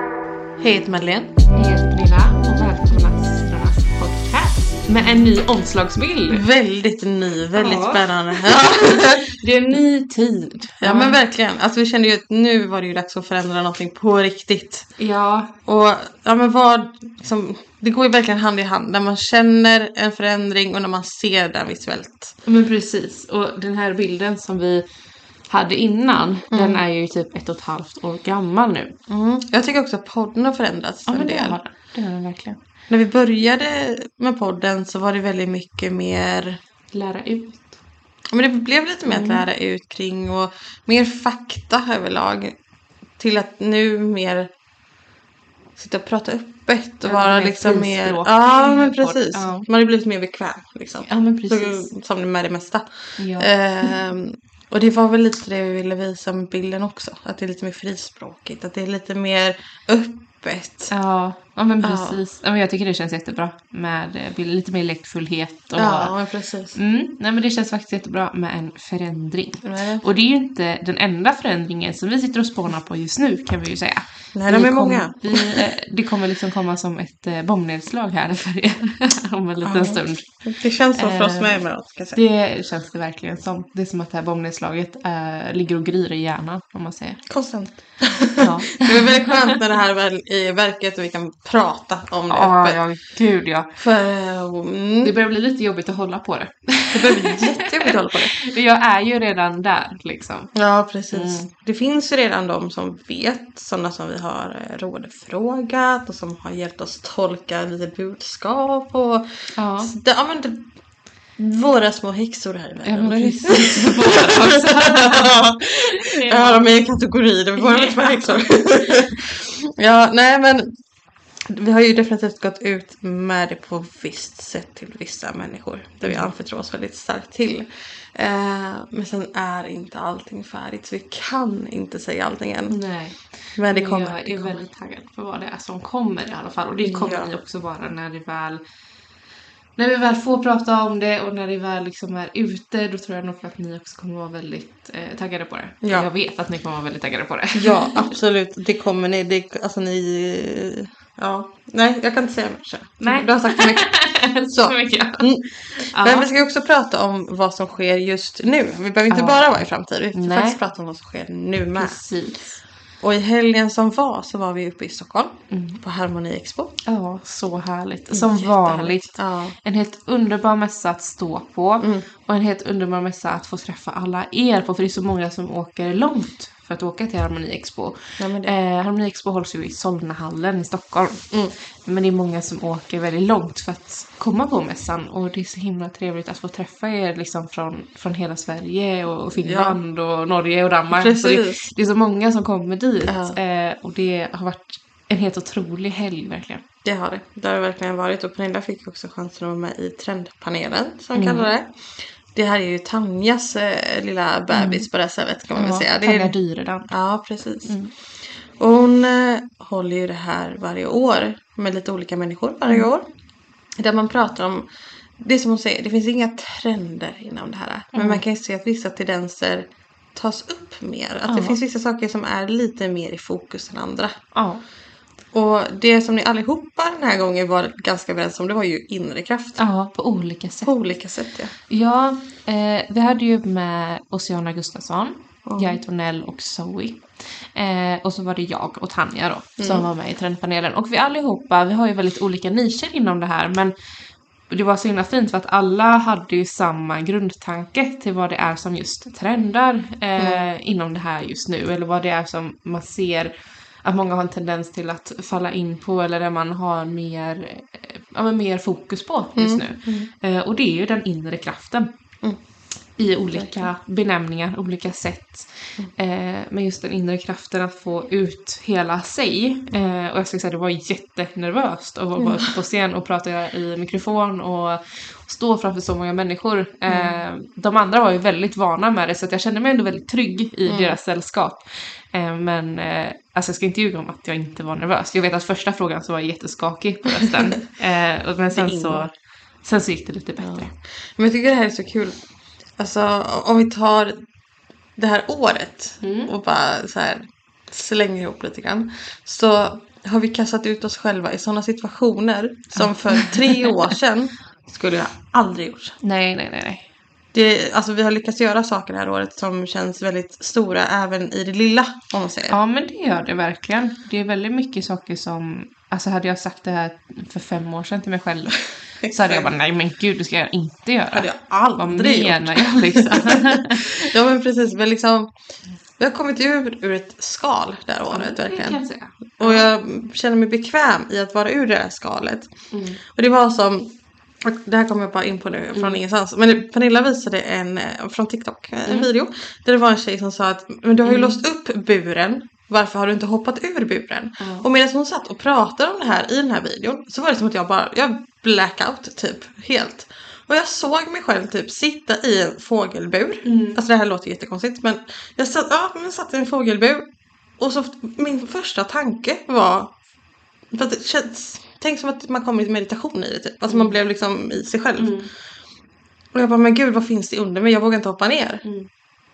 Hej, jag heter Madeleine. Jag heter Pernilla och välkomna till systrarnas podcast med en ny omslagsbild. Väldigt ny, väldigt Ja. spännande. Ja. Det är en ny tid. ja men verkligen. Alltså vi kände ju att nu var det ju dags att förändra någonting på riktigt. Ja, Och ja men vad som, det går ju verkligen hand i hand när man känner en förändring och när man ser den visuellt. men precis. Och den här bilden som vi hade innan, den är ju typ ett och ett halvt år gammal nu. Mm. Jag tycker också att podden har förändrats en det del. har den. Det har den verkligen. När vi började med podden så var det väldigt mycket mer Lära ut. Ja, Men det blev lite mer att Mm. lära ut kring och mer fakta överlag. Till att nu mer sitta och prata öppet och Ja, vara mer liksom mer... frispråkig Ja men podd. precis. Ja. Man har blivit mer bekväm liksom. Ja, men Så- precis. Som det med det mesta. Ja. Ehm, och det var väl lite det vi ville visa med bilden också. Att det är lite mer frispråkigt. Att det är lite mer öppet. Ja, ja men Ja. precis. Ja. men jag tycker det känns jättebra med eh, bild- lite mer lekfullhet. Och... Ja men precis. Mm, nej men det känns faktiskt jättebra med en förändring. Nej. Och det är ju inte den enda förändringen som vi sitter och spånar på just nu kan vi ju säga. Nej, de Vi är kom- många. vi, eh, det kommer liksom komma som ett eh, bombnedslag här för er om en liten Ja. stund. Det känns så för oss Ehm, med emellanåt. ska jag säga. Det känns det verkligen som. Det är som att det här bombnedslaget eh, ligger och gryr i hjärnan om man säger. Konstant. Ja, Det är väldigt skönt när det här väl är i verket och vi kan prata om det ah, öppet. ja gud ja. För eh, mm, Det det börjar bli lite jobbigt att hålla på det. behöver jättejobbigt att hålla på det. Jag är ju redan där liksom. Ja, precis. Mm. Det finns ju redan de som vet, sådana som vi har eh, rådfrågat och som har hjälpt oss tolka lite budskap och Ja. så det, ja, men det, våra små häxor här i Ja, världen. men precis. Också. Ja, de är i kategori. Det går inte med häxor. ja, nej men. Vi har ju definitivt gått ut med det på ett visst sätt till vissa människor. Där vi Mm. anförtror oss väldigt starkt till. Eh, men sen är inte allting färdigt. Så vi kan inte säga allting än. Nej. Men det Men kommer. Jag det är kommer. väldigt taggad för vad det är som kommer i alla fall. Och det kommer Ja. ni också vara när det väl när vi väl får prata om det och när det väl liksom är ute då tror jag nog att ni också kommer vara väldigt eh, taggade på det. Ja. Jag vet att ni kommer vara väldigt taggade på det. Ja, absolut. Det kommer ni. Det, alltså ni... Ja, nej jag kan inte säga mer. så. Nej. Du har sagt för mycket. Så. Så mycket. Mm. Ja. Men vi ska ju också prata om vad som sker just nu. Vi behöver inte Ja. bara vara i framtiden. Vi får Nej. faktiskt prata om vad som sker nu med. Precis. Och i helgen som var så var vi uppe i Stockholm Mm. på Harmony Expo. Ja, så härligt. Som Mm, Jättehärligt. vanligt. Ja. En helt underbar mässa att stå på Mm. och en helt underbar mässa att få träffa alla er på för det är så många som åker långt för att åka till Harmoni Expo. Nej, men det- Eh, Harmoni Expo hålls ju i Solnahallen i Stockholm. Mm. Men det är många som åker väldigt långt för att komma på mässan och det är så himla trevligt att få träffa er liksom från, från hela Sverige och Finland och Norge och Danmark. Så det, Precis. det är så många som kommer dit Ja. eh, och det har varit en helt otrolig helg verkligen. Det har det. Det har det verkligen varit. Och Pernilla fick också chansen att vara med i trendpanelen som vi Mm. kallar det. Det här är ju Tanjas eh, lilla bebis på det här stället kan man väl säga. Det är- Mm. Tanja Dyredand. Ja, precis. Mm. Och hon eh, håller ju det här varje år med lite olika människor varje Mm. år. Där man pratar om, det är som hon säger, det finns inga trender inom det här. Men Mm. man kan ju se att vissa tendenser tas upp mer. Att det Ja. finns vissa saker som är lite mer i fokus än andra. Ja. Och det som ni allihopa den här gången var ganska överens om det var ju inre kraft. ja, på olika sätt. På olika sätt ja. Ja, eh, vi hade ju med Oceana Gustafsson, Mm. Jai Tornell och Zoe. Eh, och så var det jag och Tanja då Mm. som var med i trendpanelen. Och vi allihopa, vi har ju väldigt olika nischer inom det här men det var så himla fint för att alla hade ju samma grundtanke till vad det är som just trendar eh, inom det här just nu. Eller vad det är som man ser att många har en tendens till att falla in på eller där man har mer, eh, ja, men mer fokus på just nu. Eh, och det är ju den inre kraften. Mm. I olika benämningar, olika sätt. Eh, men just den inre kraften att få ut hela sig. Eh, och jag ska säga det var jättenervöst att vara vara uppe på scen och prata i mikrofon och stå framför så många människor. Eh, de andra var ju väldigt vana med det så att jag kände mig ändå väldigt trygg i deras sällskap. Eh, men eh, alltså jag ska inte ljuga om att jag inte var nervös. Jag vet att första frågan så var jag jätteskakig på rösten. eh, och- men sen så, ingår. sen så gick det lite bättre. Men jag tycker det här är så kul. Alltså om vi tar Mm. det här året och bara så här slänger ihop lite grann. Så har vi kastat ut oss själva i sådana situationer som för tre år sedan skulle jag aldrig gjort. Nej, nej, nej, nej. Det, alltså vi har lyckats göra saker det här året som känns väldigt stora även i det lilla om man säger. Ja, men det gör det verkligen. Det är väldigt mycket saker som... Alltså hade jag sagt det här för fem år sedan till mig själv så hade jag bara nej men gud det ska jag inte göra. hade jag Vad aldrig gjort. menar jag liksom? Ja men precis, men liksom vi har kommit ur, ur ett skal det här Ja, men året det kan verkligen. jag säga. Och jag känner mig bekväm i att vara ur det här skalet. Mm. Och det var som, och det här kommer jag bara in på nu från Mm. ingenstans. Men Pernilla visade en, eh, från TikTok, eh, en Mm. video. Där det var en tjej som sa att men du har ju Mm. låst upp buren. Varför har du inte hoppat ur buren? Ja. Och medan hon satt och pratade om det här i den här videon så var det som att jag bara, jag blackout typ helt. Och jag såg mig själv typ sitta i en fågelbur. Mm. Alltså det här låter jättekonstigt men jag satt, ja, men jag satt i en fågelbur och så min första tanke var för att det känns, tänk som att man kommer i meditation i det typ. Alltså man blev liksom i sig själv. Mm. Och jag bara men gud vad finns det under mig? Jag vågar inte hoppa ner. Mm.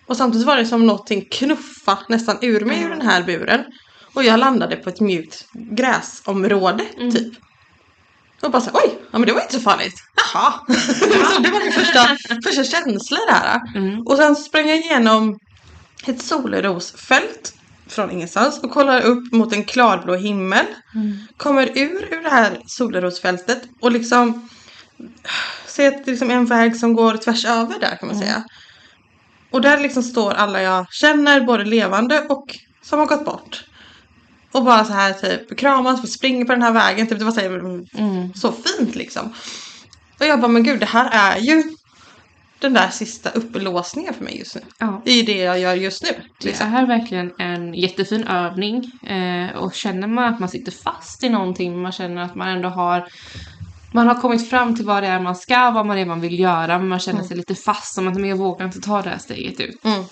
Och samtidigt var det som någonting knuffa nästan ur mig ur Mm. den här buren. Och jag landade på ett mjukt gräsområde Mm. typ. Och bara så här, oj, ja men det var inte så farligt. Jaha. Så det var min första, första känsla där. Mm. Och sen sprang jag igenom ett solrosfält från ingenstans och kollar upp mot en klarblå himmel. Mm. Kommer ur, ur det här solrosfältet och liksom ser att det är liksom en väg som går tvärs över där kan man Mm. säga. Och där liksom står alla jag känner, både levande och som har gått bort. Och bara så här typ kramas och springer på den här vägen. Typ, det var så här, Mm. så fint liksom. Och jag bara, men gud det här är ju den där sista upplåsningen för mig just nu. Ja. Det är ju det jag gör just nu. Det Liksom. är verkligen en jättefin övning eh, och känner man att man sitter fast i någonting, man känner att man ändå har man har kommit fram till vad det är man ska, vad man är man vill göra, men man känner sig lite fast som att men jag vågar inte ta det här steget ut. Mm.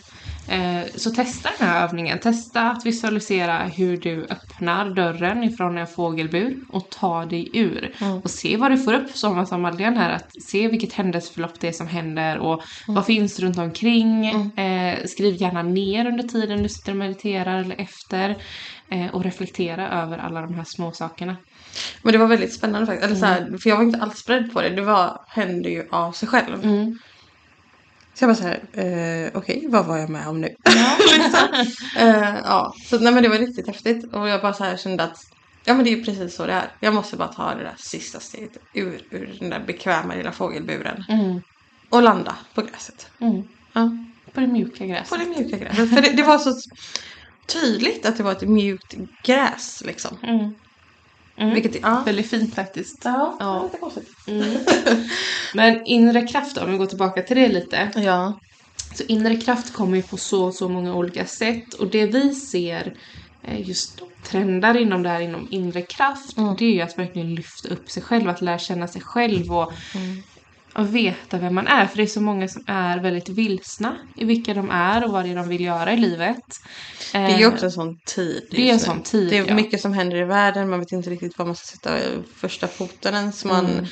Eh, så testa den här övningen. Testa att visualisera hur du öppnar dörren ifrån en fågelbur och tar dig ur. Mm. Och se vad du får upp, som som Madeleine här, att se vilket händelseförlopp det är som händer och Mm. vad finns runt omkring. Eh, skriv gärna ner under tiden du sitter och mediterar eller efter eh, och reflektera över alla de här små sakerna. Men det var väldigt spännande faktiskt. Eller så här, för jag var inte alls beredd på det. Det var, hände ju av sig själv. Mm. Så jag bara så här, eh, okej vad var jag med om nu? liksom. eh, ja, så nej men det var riktigt häftigt. Och jag bara så här kände att ja men det är ju precis så det är. Jag måste bara ta det där sista steget ur, ur den där bekväma lilla fågelburen. Mm. Och landa på gräset. Mm. Ja. På det mjuka På gräset. det mjuka gräset. För det, det var så tydligt att det var ett mjukt gräs liksom. Mm. Mm. Vilket, ja. Väldigt fint faktiskt. Ja, Ja. det var lite konstigt. Mm. Men inre kraft då, om vi går tillbaka till det lite. Ja. Så inre kraft kommer ju på så, så många olika sätt och det vi ser eh, just trendar inom det här inom inre kraft, Mm. det är ju att verkligen lyfta upp sig själv, att lära känna sig själv och, Mm. och veta vem man är. För det är så många som är väldigt vilsna i vilka de är och vad det är de vill göra i livet. Eh, Det är ju också en sån tid. det är en just nu. sån tid, Det är ja. mycket som händer i världen. Man vet inte riktigt var man ska sätta första foten ens. Man, Mm.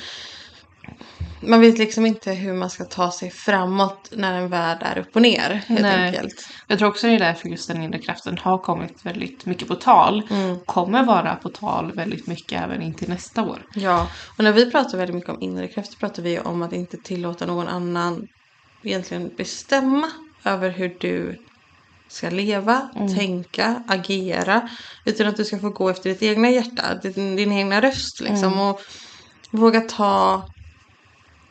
man vet liksom inte hur man ska ta sig framåt när en värld är upp och ner. Helt Nej. enkelt. Jag tror också det är därför just den inre kraften har kommit väldigt mycket på tal. Mm. Kommer vara på tal väldigt mycket även in till nästa år. Ja, och när vi pratar väldigt mycket om inre kraft så pratar vi ju om att inte tillåta någon annan egentligen bestämma över hur du ska leva, Mm. tänka, agera. Utan att du ska få gå efter ditt egna hjärta, din, din egna röst liksom. Mm. Och våga ta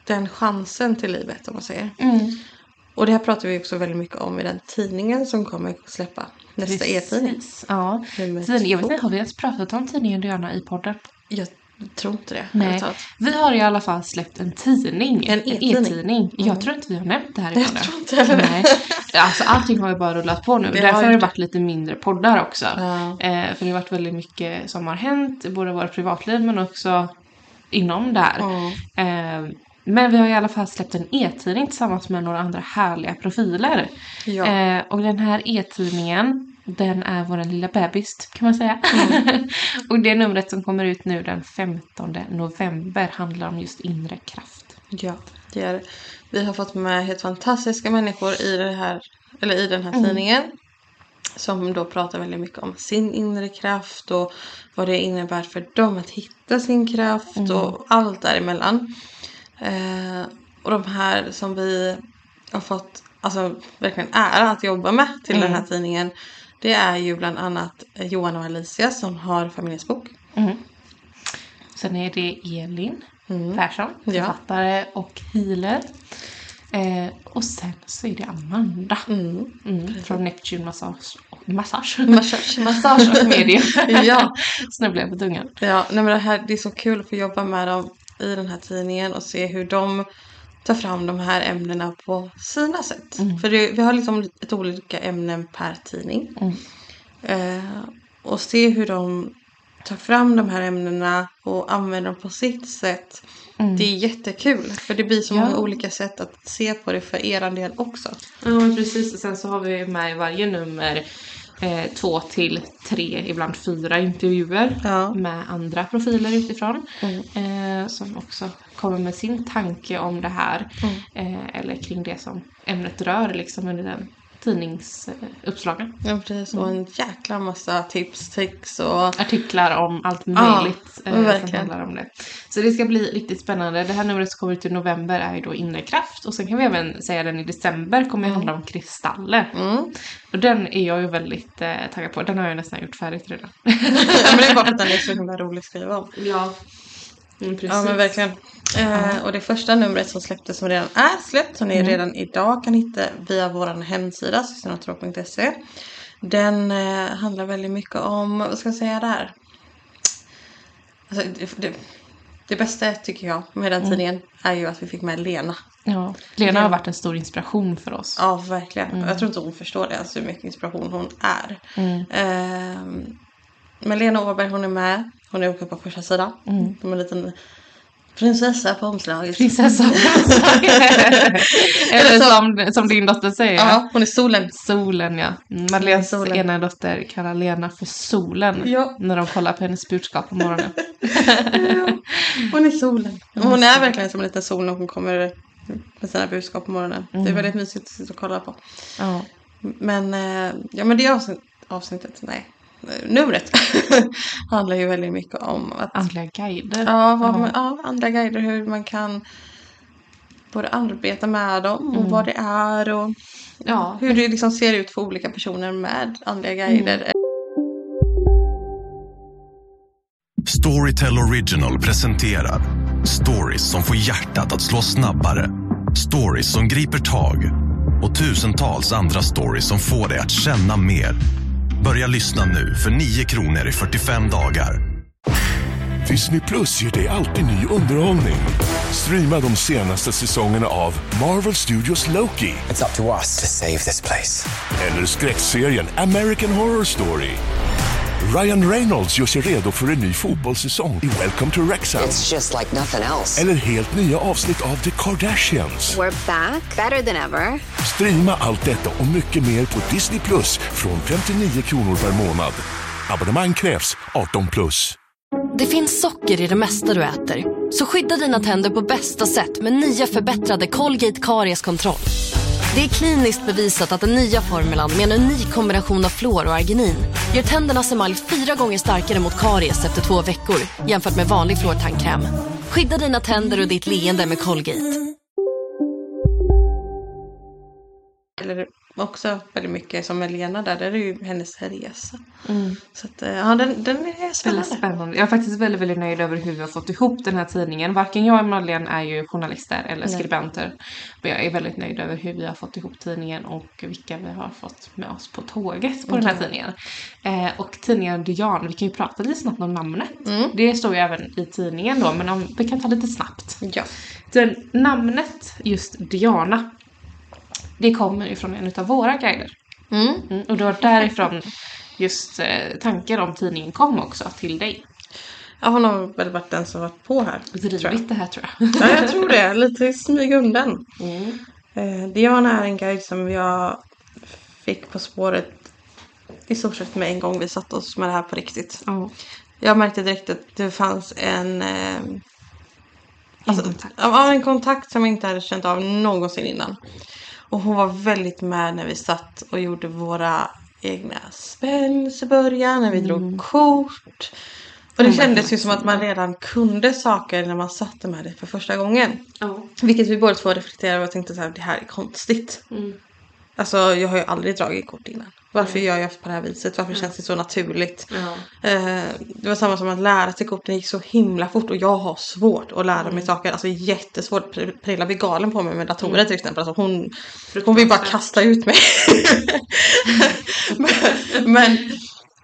den chansen till livet om man säger. Mm. Och det här pratar vi också väldigt mycket om i den tidningen som kommer släppa nästa e-tidning. Precis, Ja. Nummer Tidning, jag vet två. inte, har vi ens pratat om tidningen Diana i podden? Jag tror inte det. Nej. ärligt talat. Vi har i alla fall släppt en tidning. En e-tidning. Mm. Jag tror inte vi har nämnt det här i podden. Jag tror inte heller det. Nej, alltså allting har ju bara rullat på nu. Det har Därför har det gjort det. varit lite mindre poddar också. Ja. Eh, för det har varit väldigt mycket som har hänt, både i vårt privatliv men också inom det här. Ja. Eh, men vi har i alla fall släppt en e-tidning tillsammans med några andra härliga profiler. Ja. Eh, och den här e-tidningen, den är vår lilla bebis kan man säga. Mm. och det numret som kommer ut nu den 15 november handlar om just inre kraft. Ja, det är det. Mm. Vi har fått med helt fantastiska människor i, det här, eller i den här tidningen. Som då pratar väldigt mycket om sin inre kraft och vad det innebär för dem att hitta sin kraft och allt däremellan. Eh, och de här som vi har fått alltså, verkligen ära att jobba med till Mm. den här tidningen. Det är ju bland annat eh, Johan och Alicia som har familjens bok. Mm. Sen är det Elin Mm. Persson, Ja. författare och healer. Eh, och sen så är det Amanda Mm. mm, från Neptune Massage och, massage. Massage. massage och media. Ja. Snubblade jag på tungan. Ja, nej men det, här, det är så kul att få jobba med dem i den här tidningen och se hur de tar fram de här ämnena på sina sätt. Mm. För det, vi har liksom ett olika ämnen per tidning. Mm. Eh, och se hur de tar fram de här ämnena och använder dem på sitt sätt. Mm. Det är jättekul för det blir så Ja. många olika sätt att se på det för er del också. Ja men precis, och sen så har vi med i varje nummer eh, två till tre, ibland fyra intervjuer Ja. med andra profiler utifrån Mm. eh, som också kommer med sin tanke om det här Mm. eh, eller kring det som ämnet rör liksom under den tidningsuppslagen. Ja, precis. Och en jäkla massa tips, tricks och Artiklar om allt Ja, möjligt men eh, som verkligen. handlar om det. Så det ska bli riktigt spännande. Det här numret som kommer ut i november är ju då inre kraft och sen kan vi även säga den i december kommer ju handla om kristaller. mm. Och den är jag ju väldigt eh, taggad på. Den har jag nästan gjort färdigt redan. ja, men det är bara för att den är så himla rolig att skriva om. Ja. precis. Ja men verkligen. Eh, och det första numret som släpptes som redan är släppt som ni Mm. redan idag kan hitta via vår hemsida systernatro.se. Den eh, handlar väldigt mycket om, vad ska jag säga där? Alltså, det, det, det bästa tycker jag med den Mm. tidningen är ju att vi fick med Lena. Ja. Lena har varit en stor inspiration för oss. Ja verkligen. Jag tror inte hon förstår det alltså hur mycket inspiration hon är. Mm. Ehm, men Lena Åberg hon är med. Hon är uppe på första sidan. Mm. Som en liten prinsessa på omslaget. Prinsessa Eller som, som din dotter säger. Ja, hon är solen. Solen ja. Madeleines Solen. ena dotter kallar Lena för solen. Ja. När de kollar på hennes budskap på morgonen. Hon är solen. Hon är verkligen som en liten sol när hon kommer med sina budskap på morgonen. Det är väldigt mysigt att sitta och kolla på. Ja. Men, eh, ja, men det avsnitt, avsnittet, nej, eh, numret handlar ju väldigt mycket om att Andliga guider. ja, vad man, ja, andra guider, hur man kan både arbeta med dem och vad det är och Ja. hur det liksom ser ut för olika personer med andliga guider. Storytel Original presenterar stories som får hjärtat att slå snabbare. Stories som griper tag och tusentals andra stories som får dig att känna mer. Börja lyssna nu för 9 kronor i 45 dagar. Disney Plus ger dig alltid ny underhållning. Streama de senaste säsongerna av Marvel Studios Loki It's up to us to save this place. eller skräckserien American Horror Story. Ryan Reynolds gör sig redo för en ny fotbollssäsong i Welcome to Rexham. It's just like nothing else. Eller helt nya avsnitt av The Kardashians. We're back, better than ever. Streama allt detta och mycket mer på Disney Plus från 59 kronor per månad. Abonnemang krävs 18 plus. Det finns socker i det mesta du äter. Så skydda dina tänder på bästa sätt med nya förbättrade Colgate Karieskontroll. Det är kliniskt bevisat att den nya formulan med en unik kombination av fluor och arginin gör tändernas emalj fyra gånger starkare mot karies efter två veckor jämfört med vanlig fluortandkräm. Skydda dina tänder och ditt leende med Colgate. Eller också väldigt mycket som Elena där, där är ju hennes resa. Så att, eh, ja den, den är Väldigt spännande. spännande. Jag är faktiskt väldigt, väldigt nöjd över hur vi har fått ihop den här tidningen. Varken jag eller Madeleine är ju journalister eller skribenter. Men jag är väldigt nöjd över hur vi har fått ihop tidningen och vilka vi har fått med oss på tåget på den här tidningen. Eh, och tidningen Dian, vi kan ju prata lite snabbt om namnet. Det står ju även i tidningen då, men om, vi kan ta lite snabbt. Ja. Den, namnet just Diana, det kommer ju från en av våra guider. Mm. Mm, och det var därifrån just eh, tanken om tidningen kom också till dig ja, hon har väl varit den som varit på här. tror jag. drivit det här tror jag. Ja, jag tror det. Lite i smägundan. Eh, Diana är en guide som jag fick på spåret i stort sett med en gång vi satte oss med det här på riktigt. Ja. Jag märkte direkt att det fanns en, eh, Alltså, ja, en kontakt som jag inte hade känt av någonsin innan. Och hon var väldigt med när vi satt och gjorde våra egna spänns i början när vi drog kort. Och det kändes ju som att man redan kunde saker när man satte med det för första gången. Ja. Vilket vi båda två reflekterade över och tänkte så här, det här är konstigt. Alltså jag har ju aldrig dragit kort innan. Varför gör jag på det här viset? Varför känns det så naturligt? Ja. Eh, det var samma som att lära sig korten gick så himla fort och jag har svårt att lära mig saker. Alltså jättesvårt. Pr- Prilla blir galen på mig med datorer till exempel. Alltså, hon, hon vill bara kasta ut mig. men, men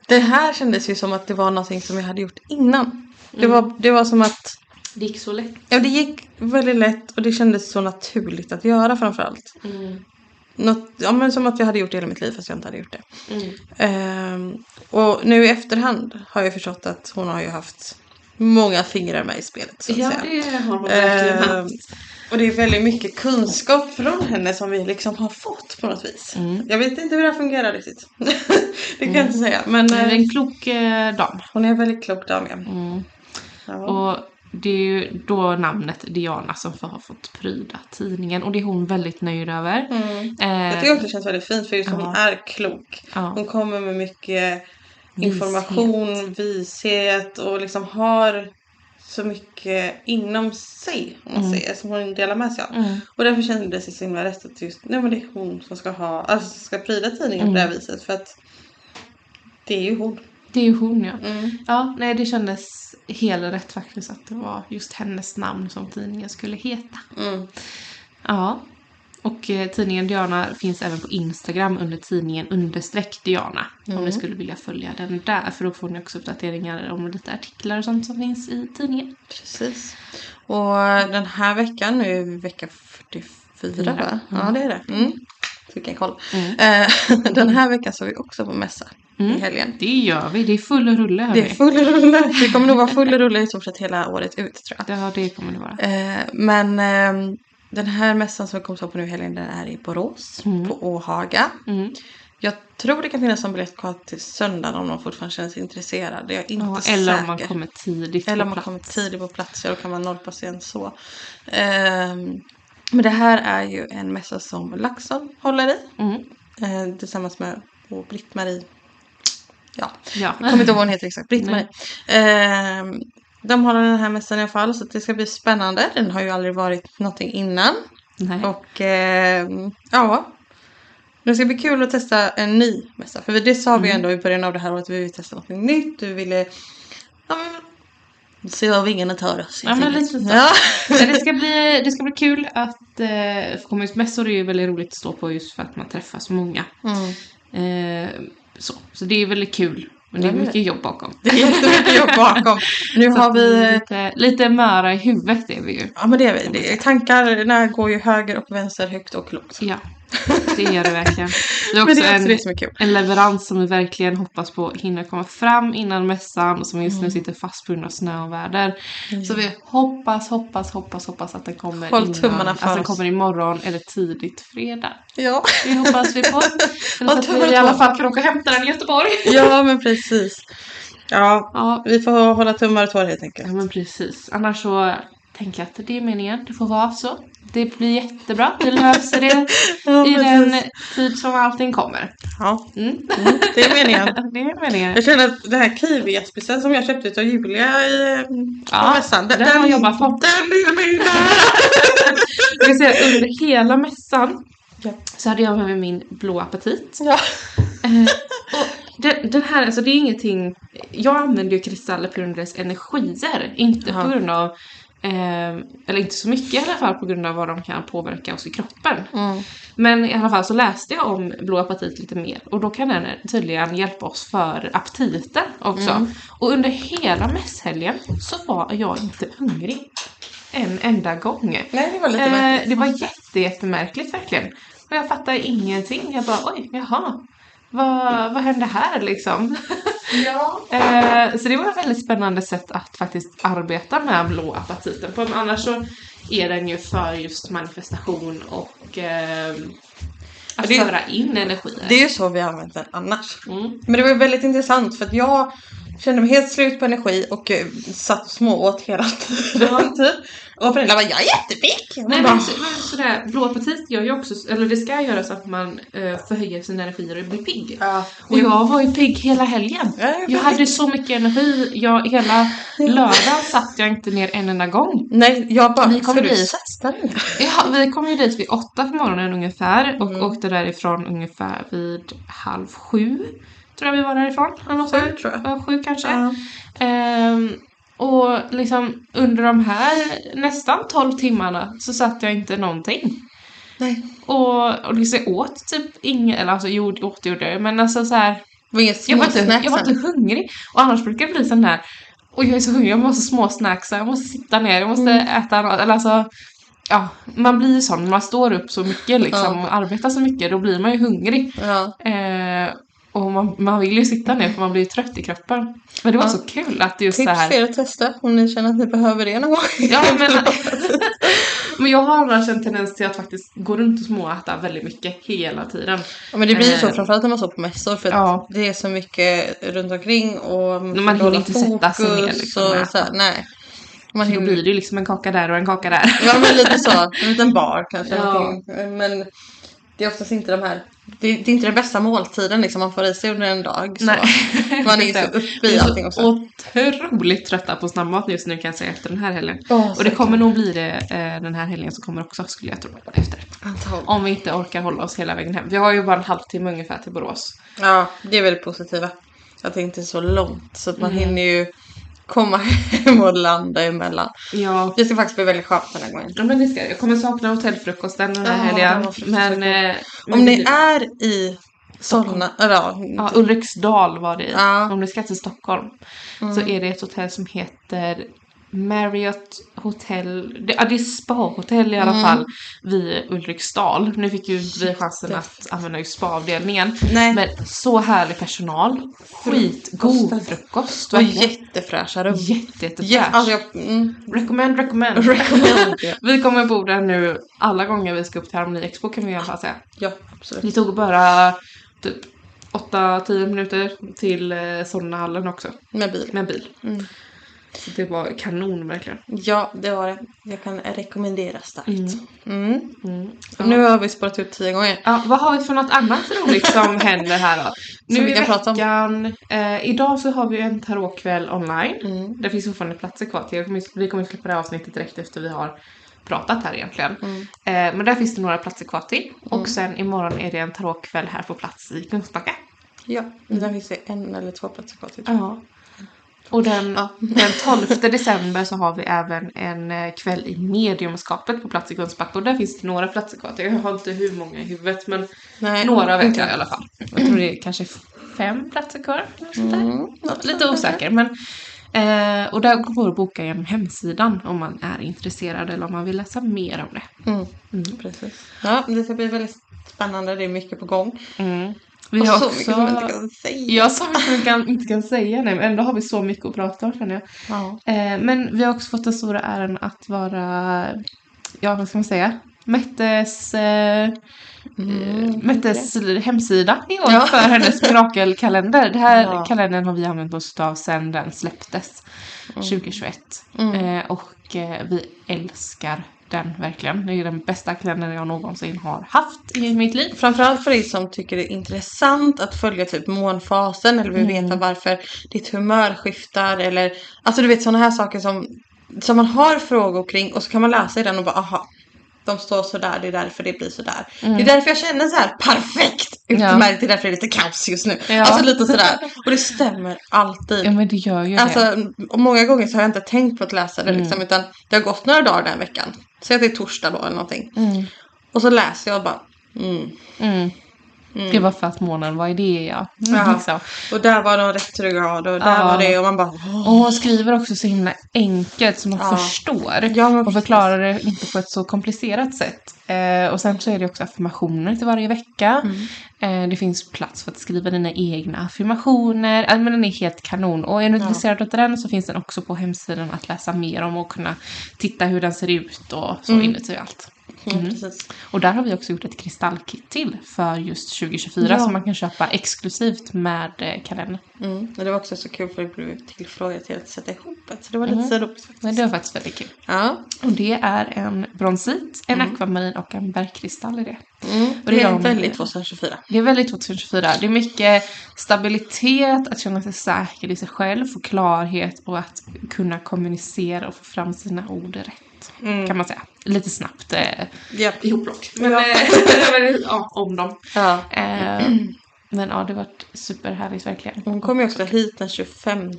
det här kändes ju som att det var någonting som jag hade gjort innan. Det, var, det var som att Det gick så lätt. Ja, det gick väldigt lätt och det kändes så naturligt att göra framförallt. Mm. Något, ja, men som att jag hade gjort det hela mitt liv fast jag inte hade gjort det. Mm. Ehm, och nu i efterhand har jag förstått att hon har ju haft många fingrar med i spelet så att Ja, säga. det har man verkligen Ehm, haft. och det är väldigt mycket kunskap från henne som vi liksom har fått på något vis. Mm. Jag vet inte hur det här fungerar riktigt. det kan jag inte säga. Men Det är eh, en klok eh, dam. hon är en väldigt klok dam ja. Ja. Och det är ju då namnet Diana som får- har fått pryda tidningen och det är hon väldigt nöjd över. Mm. Jag Eh, tycker också det känns väldigt fint för just hon är klok. Ja. Hon kommer med mycket Vishet. information, vishet och liksom har så mycket inom sig om man säger, som hon delar med sig av. Och därför kändes det så himla rätt att just nej men det är hon som ska ha, alltså som ska pryda tidningen på det här viset för att det är ju hon. det är ju hon ja. Mm. Ja, nej det kändes helt rätt faktiskt att det var just hennes namn som tidningen skulle heta. Mm. Ja. Och eh, tidningen Diana finns även på Instagram under tidningen understreck Diana. Om Mm. ni skulle vilja följa den där. För då får ni också uppdateringar om lite artiklar och sånt som finns i tidningen. Precis. Och den här veckan, nu är vi vecka 44 va? Ja det är det. Mm. Fick en koll. Eh, den här veckan så är vi också på mässa Mm. i helgen. Det gör vi, det är full rulle hörni. Det är full rulle. Det kommer nog vara full rulle i stort sett hela året ut tror jag. Ja, det kommer det vara. Eh, men ehm, den här mässan som vi kommer stå på nu i helgen den är i Borås på Åhaga. Mm. Jag tror det kan finnas en biljett kvar till söndagen om någon fortfarande känner sig intresserad. Jag är inte Ja, säker. eller om man kommer tidigt Eller om på man plats. kommer tidigt på plats, ja då kan man norpa sig än så. Ehm, men det här är ju en mässa som Laxon håller i. Mm. Eh, tillsammans med och Britt-Marie. Ja, Ja. jag kommer inte ihåg vad hon heter exakt. Britt-Marie. Ehm, de håller den här mässan i alla fall så att det ska bli spännande. Den har ju aldrig varit någonting innan. Nej. Och ehm, ja. Det ska bli kul att testa en ny mässa. För det sa vi Mm. ändå i början av det här året. att Vi ville testa något nytt. Vi ville ja, men, se vad vingarna tar oss. Ja, men helt lite enkelt. så. Ja. Men det, ska bli, det ska bli kul att eh, få komma ut. Mässor är ju väldigt roligt att stå på just för att man träffar så många. Mm. Eh, så. så det är väldigt kul. Men det är Ja, det är mycket jobb bakom. Det är jättemycket jobb bakom. Nu Så har att det är vi lite, lite möra i huvudet är vi ju. Ja men det är vi. Det är, tankarna går ju höger och vänster, högt och lågt. Ja, det gör det verkligen. Det är Men också det är också en, det som är kul. en leverans som vi verkligen hoppas på hinner komma fram innan mässan och som just Mm. nu sitter fast på grund av snö och väder. Så vi hoppas, hoppas, hoppas, hoppas att den kommer Håll innan, tummarna för att den oss. kommer imorgon eller tidigt fredag. Ja. Det hoppas vi på. Eller så Håll att tummarna vi i alla på. fall kan åka och hämta den i Göteborg. ja men precis. Ja, Ja, vi får hålla tummar och tår helt Ja enkelt. men precis. Annars så tänker jag att det är meningen. Det får vara så. Det blir jättebra. Vi löser det Ja, i precis. den tid som allting kommer. Ja, Mm. det är meningen. Det är meningen. Jag känner att den här kiwiäspisen som jag köpte av Julia i eh, på Ja, mässan. den har jobbat på. Den är min där! Jag kan säga under hela mässan så hade jag med mig min blå appetit. Ja. Eh, och den, den här, alltså det är ingenting... Jag använder ju kristaller på grund av deras energier. Inte Ja. på grund av... ehm, eller inte så mycket i alla fall på grund av vad de kan påverka oss i kroppen. Mm. Men i alla fall så läste jag om blå apatit lite mer och då kan den tydligen hjälpa oss för aptiten också. Och under hela mässhelgen så var jag inte hungrig en enda gång. Nej, det var lite Eh, märkligt. det var jätte, jättemärkligt verkligen. Och jag fattade ingenting. Jag bara oj, jaha. Vad, vad hände här liksom? Ja. Eh, så det var ett väldigt spännande sätt att faktiskt arbeta med blå apatiten på. Men annars så är den ju för just manifestation och eh, att Det- föra in Mm. energier. Det är ju så vi har använt den annars. Men det var ju väldigt intressant för att jag kände mig helt slut på energi och eh, satt och smååt hela tiden. typ. Och föräldrarna bara, jag är jättepick! Och man Nej bara, men så, men sådär, blåpartiet gör ju också, eller det ska göras att man eh, förhöjer sina energier och blir pigg. ja, Och jag var ju pigg hela helgen. Jag hade så mycket energi, jag, hela lördagen satt jag inte ner en enda gång. Nej, jag bara, Vi kommer ska du dit. satsa nu? Ja, vi kom ju dit vid åtta på morgonen ungefär och Mm. åkte därifrån ungefär vid halv sju. Tror jag vi var därifrån. eller något sånt. tror jag. Ja, Sju kanske. Ehm, och liksom under de här nästan 12 timmarna så satt jag inte någonting. Nej. Och, och liksom jag åt typ inget, eller alltså jo, åt gjorde jag ju, men alltså så här, Det var inget jag, var inte, småsnack jag var sen. inte hungrig. Och annars brukar det bli sån där, och jag är så hungrig, jag måste småsnacksa, jag måste sitta ner, jag måste Mm. äta något, eller alltså Ja, man blir ju sån, när man står upp så mycket liksom, och arbetar så mycket, då blir man ju hungrig. Ja. Eh, och man, man vill ju sitta ner för man blir ju trött i kroppen. Men det var Ja. så kul att just det Tips här... för er att testa om ni känner att ni behöver det någon gång. Ja, men, men jag har annars en tendens till att faktiskt gå runt och småäta väldigt mycket hela tiden. Ja, men det blir ju så Eh. framförallt när man står på mässor för att Ja. det är så mycket runt omkring och Men får man hinner hålla inte sätta sig ner, liksom, och och äta. så här, nej. Man Så då hinner, blir det ju liksom en kaka där och en kaka där. ja, men lite så, en liten bar kanske. Ja. någonting. Men det är oftast inte de här, det, det är inte den bästa måltiden liksom, man får i sig under en dag. Så. Nej. Man är ju så uppe Vi i är allting också. så otroligt trötta på snabbmat just nu kan jag säga efter den här helgen. Ja, och det kommer nog bli det eh, den här helgen som kommer också skulle jag tro. Efter. Antagligen. Om vi inte orkar hålla oss hela vägen hem. Vi har ju bara en halvtimme ungefär till Borås. Ja, det är väl det positiva. Att det inte är så långt så att man hinner ju komma hem och landa emellan. Ja, Det ska faktiskt bli väldigt skönt den här gången. Ja, men det ska jag. Jag kommer sakna hotellfrukosten den här Ja, den helgen. var fruktansvärt Men, god. eh, men Om det ni blir- är i Solna, eller ja, typ. Ja, Ulriksdal var det i. Mm. Ja. Mm. Om ni ska till Stockholm så är det ett hotell som heter Marriott Hotel, det, ja, det är spa-hotell i alla Mm. fall vid Ulriksdal. Nu fick ju inte vi chansen att använda just spa-avdelningen. Nej. Men så härlig personal, skitgod frukost. och verkligen. jättefräscha rum. Jätte, jättefräsch. Jätte- alltså jag, mm, Recommend, recommend. Recommend, ja. vi kommer bo där nu alla gånger vi ska upp till Harmony Expo kan vi i alla fall säga. ja, absolut. Det tog bara typ 8-10 minuter till eh, Solnahallen också Med bil. med bil. Mm. Så det var kanon verkligen. Ja, det var det. Jag kan rekommendera starkt. Mm. Ja. Nu har vi spårat ut tio gånger. Ja, vad har vi för något annat roligt som händer här då? Nu vi i kan prata om. veckan, eh, idag så har vi ju en tarotkväll online. Mm. Det finns fortfarande platser kvar till. Jag kommer, vi kommer släppa det här avsnittet direkt efter vi har pratat här egentligen. Mm. Eh, men där finns det några platser kvar till. Och sen imorgon är det en tarotkväll här på plats i Kungsbacka. Ja, mm. där finns det en eller två platser kvar till. Ja. Och den, den 12 december så har vi även en eh, kväll i mediumskapet på plats i Kungsbacka. Och där finns det några platser kvar till. Jag har inte hur många i huvudet men Nej, några vet inte. jag i alla fall. Jag tror det är kanske fem platser kvar. eller sånt där. Mm. Något- Lite osäker men eh, och där går det att boka genom hemsidan om man är intresserad eller om man vill läsa mer om det. Mm. Precis. Ja, det ska bli väldigt spännande. Det är mycket på gång. Vi Mm. Och har så också... mycket som jag inte kan säga. Ja, så mycket vi kan, inte kan säga nej, men ändå har vi så mycket att prata om känner jag. Ja. Eh, men vi har också fått den stora äran att vara, ja vad ska man säga, Mettes, eh, eh, Mettes hemsida i år Ja. för hennes mirakelkalender. Den här Ja. kalendern har vi använt oss av sedan den släpptes Mm. 2021. Eh, och eh, vi älskar den verkligen. Det är den bästa kalendern jag någonsin har haft i mitt liv. Framförallt för dig som tycker det är intressant att följa typ månfasen eller vill veta varför ditt humör skiftar eller alltså du vet sådana här saker som, som man har frågor kring och så kan man läsa i den och bara aha de står sådär, det är därför det blir sådär. Det är därför jag känner så här perfekt utmärkt, det är därför det är lite kaos just nu. Ja. Alltså lite sådär. Och det stämmer alltid. Ja men det gör ju det. Alltså, och många gånger så har jag inte tänkt på att läsa Mm. det liksom, utan det har gått några dagar den här veckan. Säg att det är torsdag då eller någonting. Och så läser jag och bara, mm. Mm. Det var för att månaden, vad är det ja? Ja. Liksom. Och där var de retrograd och där Ja. var det och man bara, "Åh." Och hon skriver också så himla enkelt som man Ja. förstår. Ja, men och precis. förklarar det inte på ett så komplicerat sätt. Eh, och sen så är det också affirmationer till varje vecka. Mm. Eh, det finns plats för att skriva dina egna affirmationer. Eh, men den är helt kanon. Och är du intresserad av den så finns den Mm. också på hemsidan att läsa mer om och kunna titta hur den ser ut och så inuti och allt. precis. Och där har vi också gjort ett kristallkit till för just 2024 Ja. som man kan köpa exklusivt med eh, kalendern. Mm. Men det var också så kul för det blev tillfrågat till att sätta ihop ett. Så det var lite så roligt faktiskt. Men det var faktiskt väldigt kul. Ja. Mm. Och det är en bronsit, en akvamarin och en bergkristall i det. Mm. det Det är de- väldigt 2024. Det är väldigt 2024. Det är mycket stabilitet, att känna sig säker i sig själv, få klarhet och att kunna kommunicera och få fram sina ord rätt. Kan man säga. Lite snabbt eh, Ja. ihopplock. Men, Mm. Ja. eh, men, ja, om dem. Ja. Eh, men ja, det har varit superhärligt verkligen. Hon kommer ju också hit den 25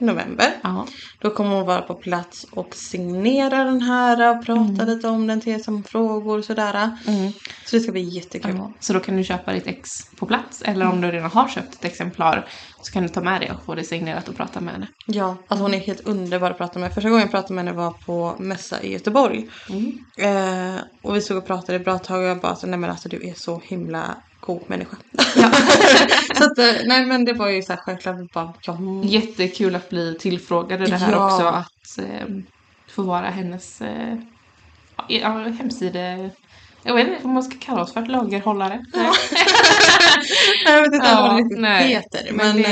november. Ja, Då kommer hon vara på plats och signera den här, prata Mm. lite om den till er som frågor och sådär. Så det ska bli jättekul. ja. Så då kan du köpa ditt ex på plats eller om du redan har köpt ett exemplar så kan du ta med det och få det signerat och prata med henne. Ja, alltså hon är helt underbar att prata med. Första gången jag pratade med henne var på mässa i Göteborg. Mm. Eh, och vi stod och pratade ett bra tag och jag bara så, nej men alltså du är så himla god människa. så att, eh, nej men det var ju så här självklart vi bara ja. Mm. Jättekul att bli tillfrågad i det här Ja. också. Att eh, få vara hennes eh, ja, hemsida... Jag vet inte vad man ska kalla oss för, lagerhållare? Nej. Jag vet inte vad Ja, det riktigt nej. heter. Men Men, det-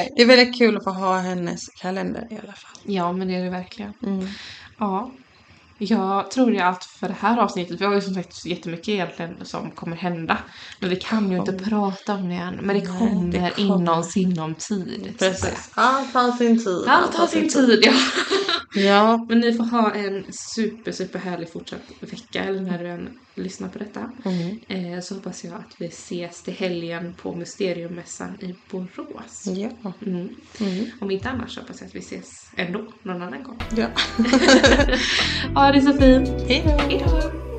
eh, det är väldigt kul att få ha hennes kalender i alla fall. Ja, men det är det verkligen. Ja. Jag tror det är allt för det här avsnittet. Vi har ju som sagt så jättemycket egentligen som kommer hända. Men vi kan ju inte prata om det än. Men det kommer, det kommer. inom sinom tid. så att säga. Precis. Allt tar sin tid. Allt har sin tid, ja. Ja. Men ni får ha en super, super härlig fortsatt vecka eller när du än lyssnar på detta. Eh, så hoppas jag att vi ses till helgen på Mysteriummässan i Borås. Ja. Mm. Om inte annars hoppas jag att vi ses ändå någon annan gång. ja. Ja, det är så fint. Hej då!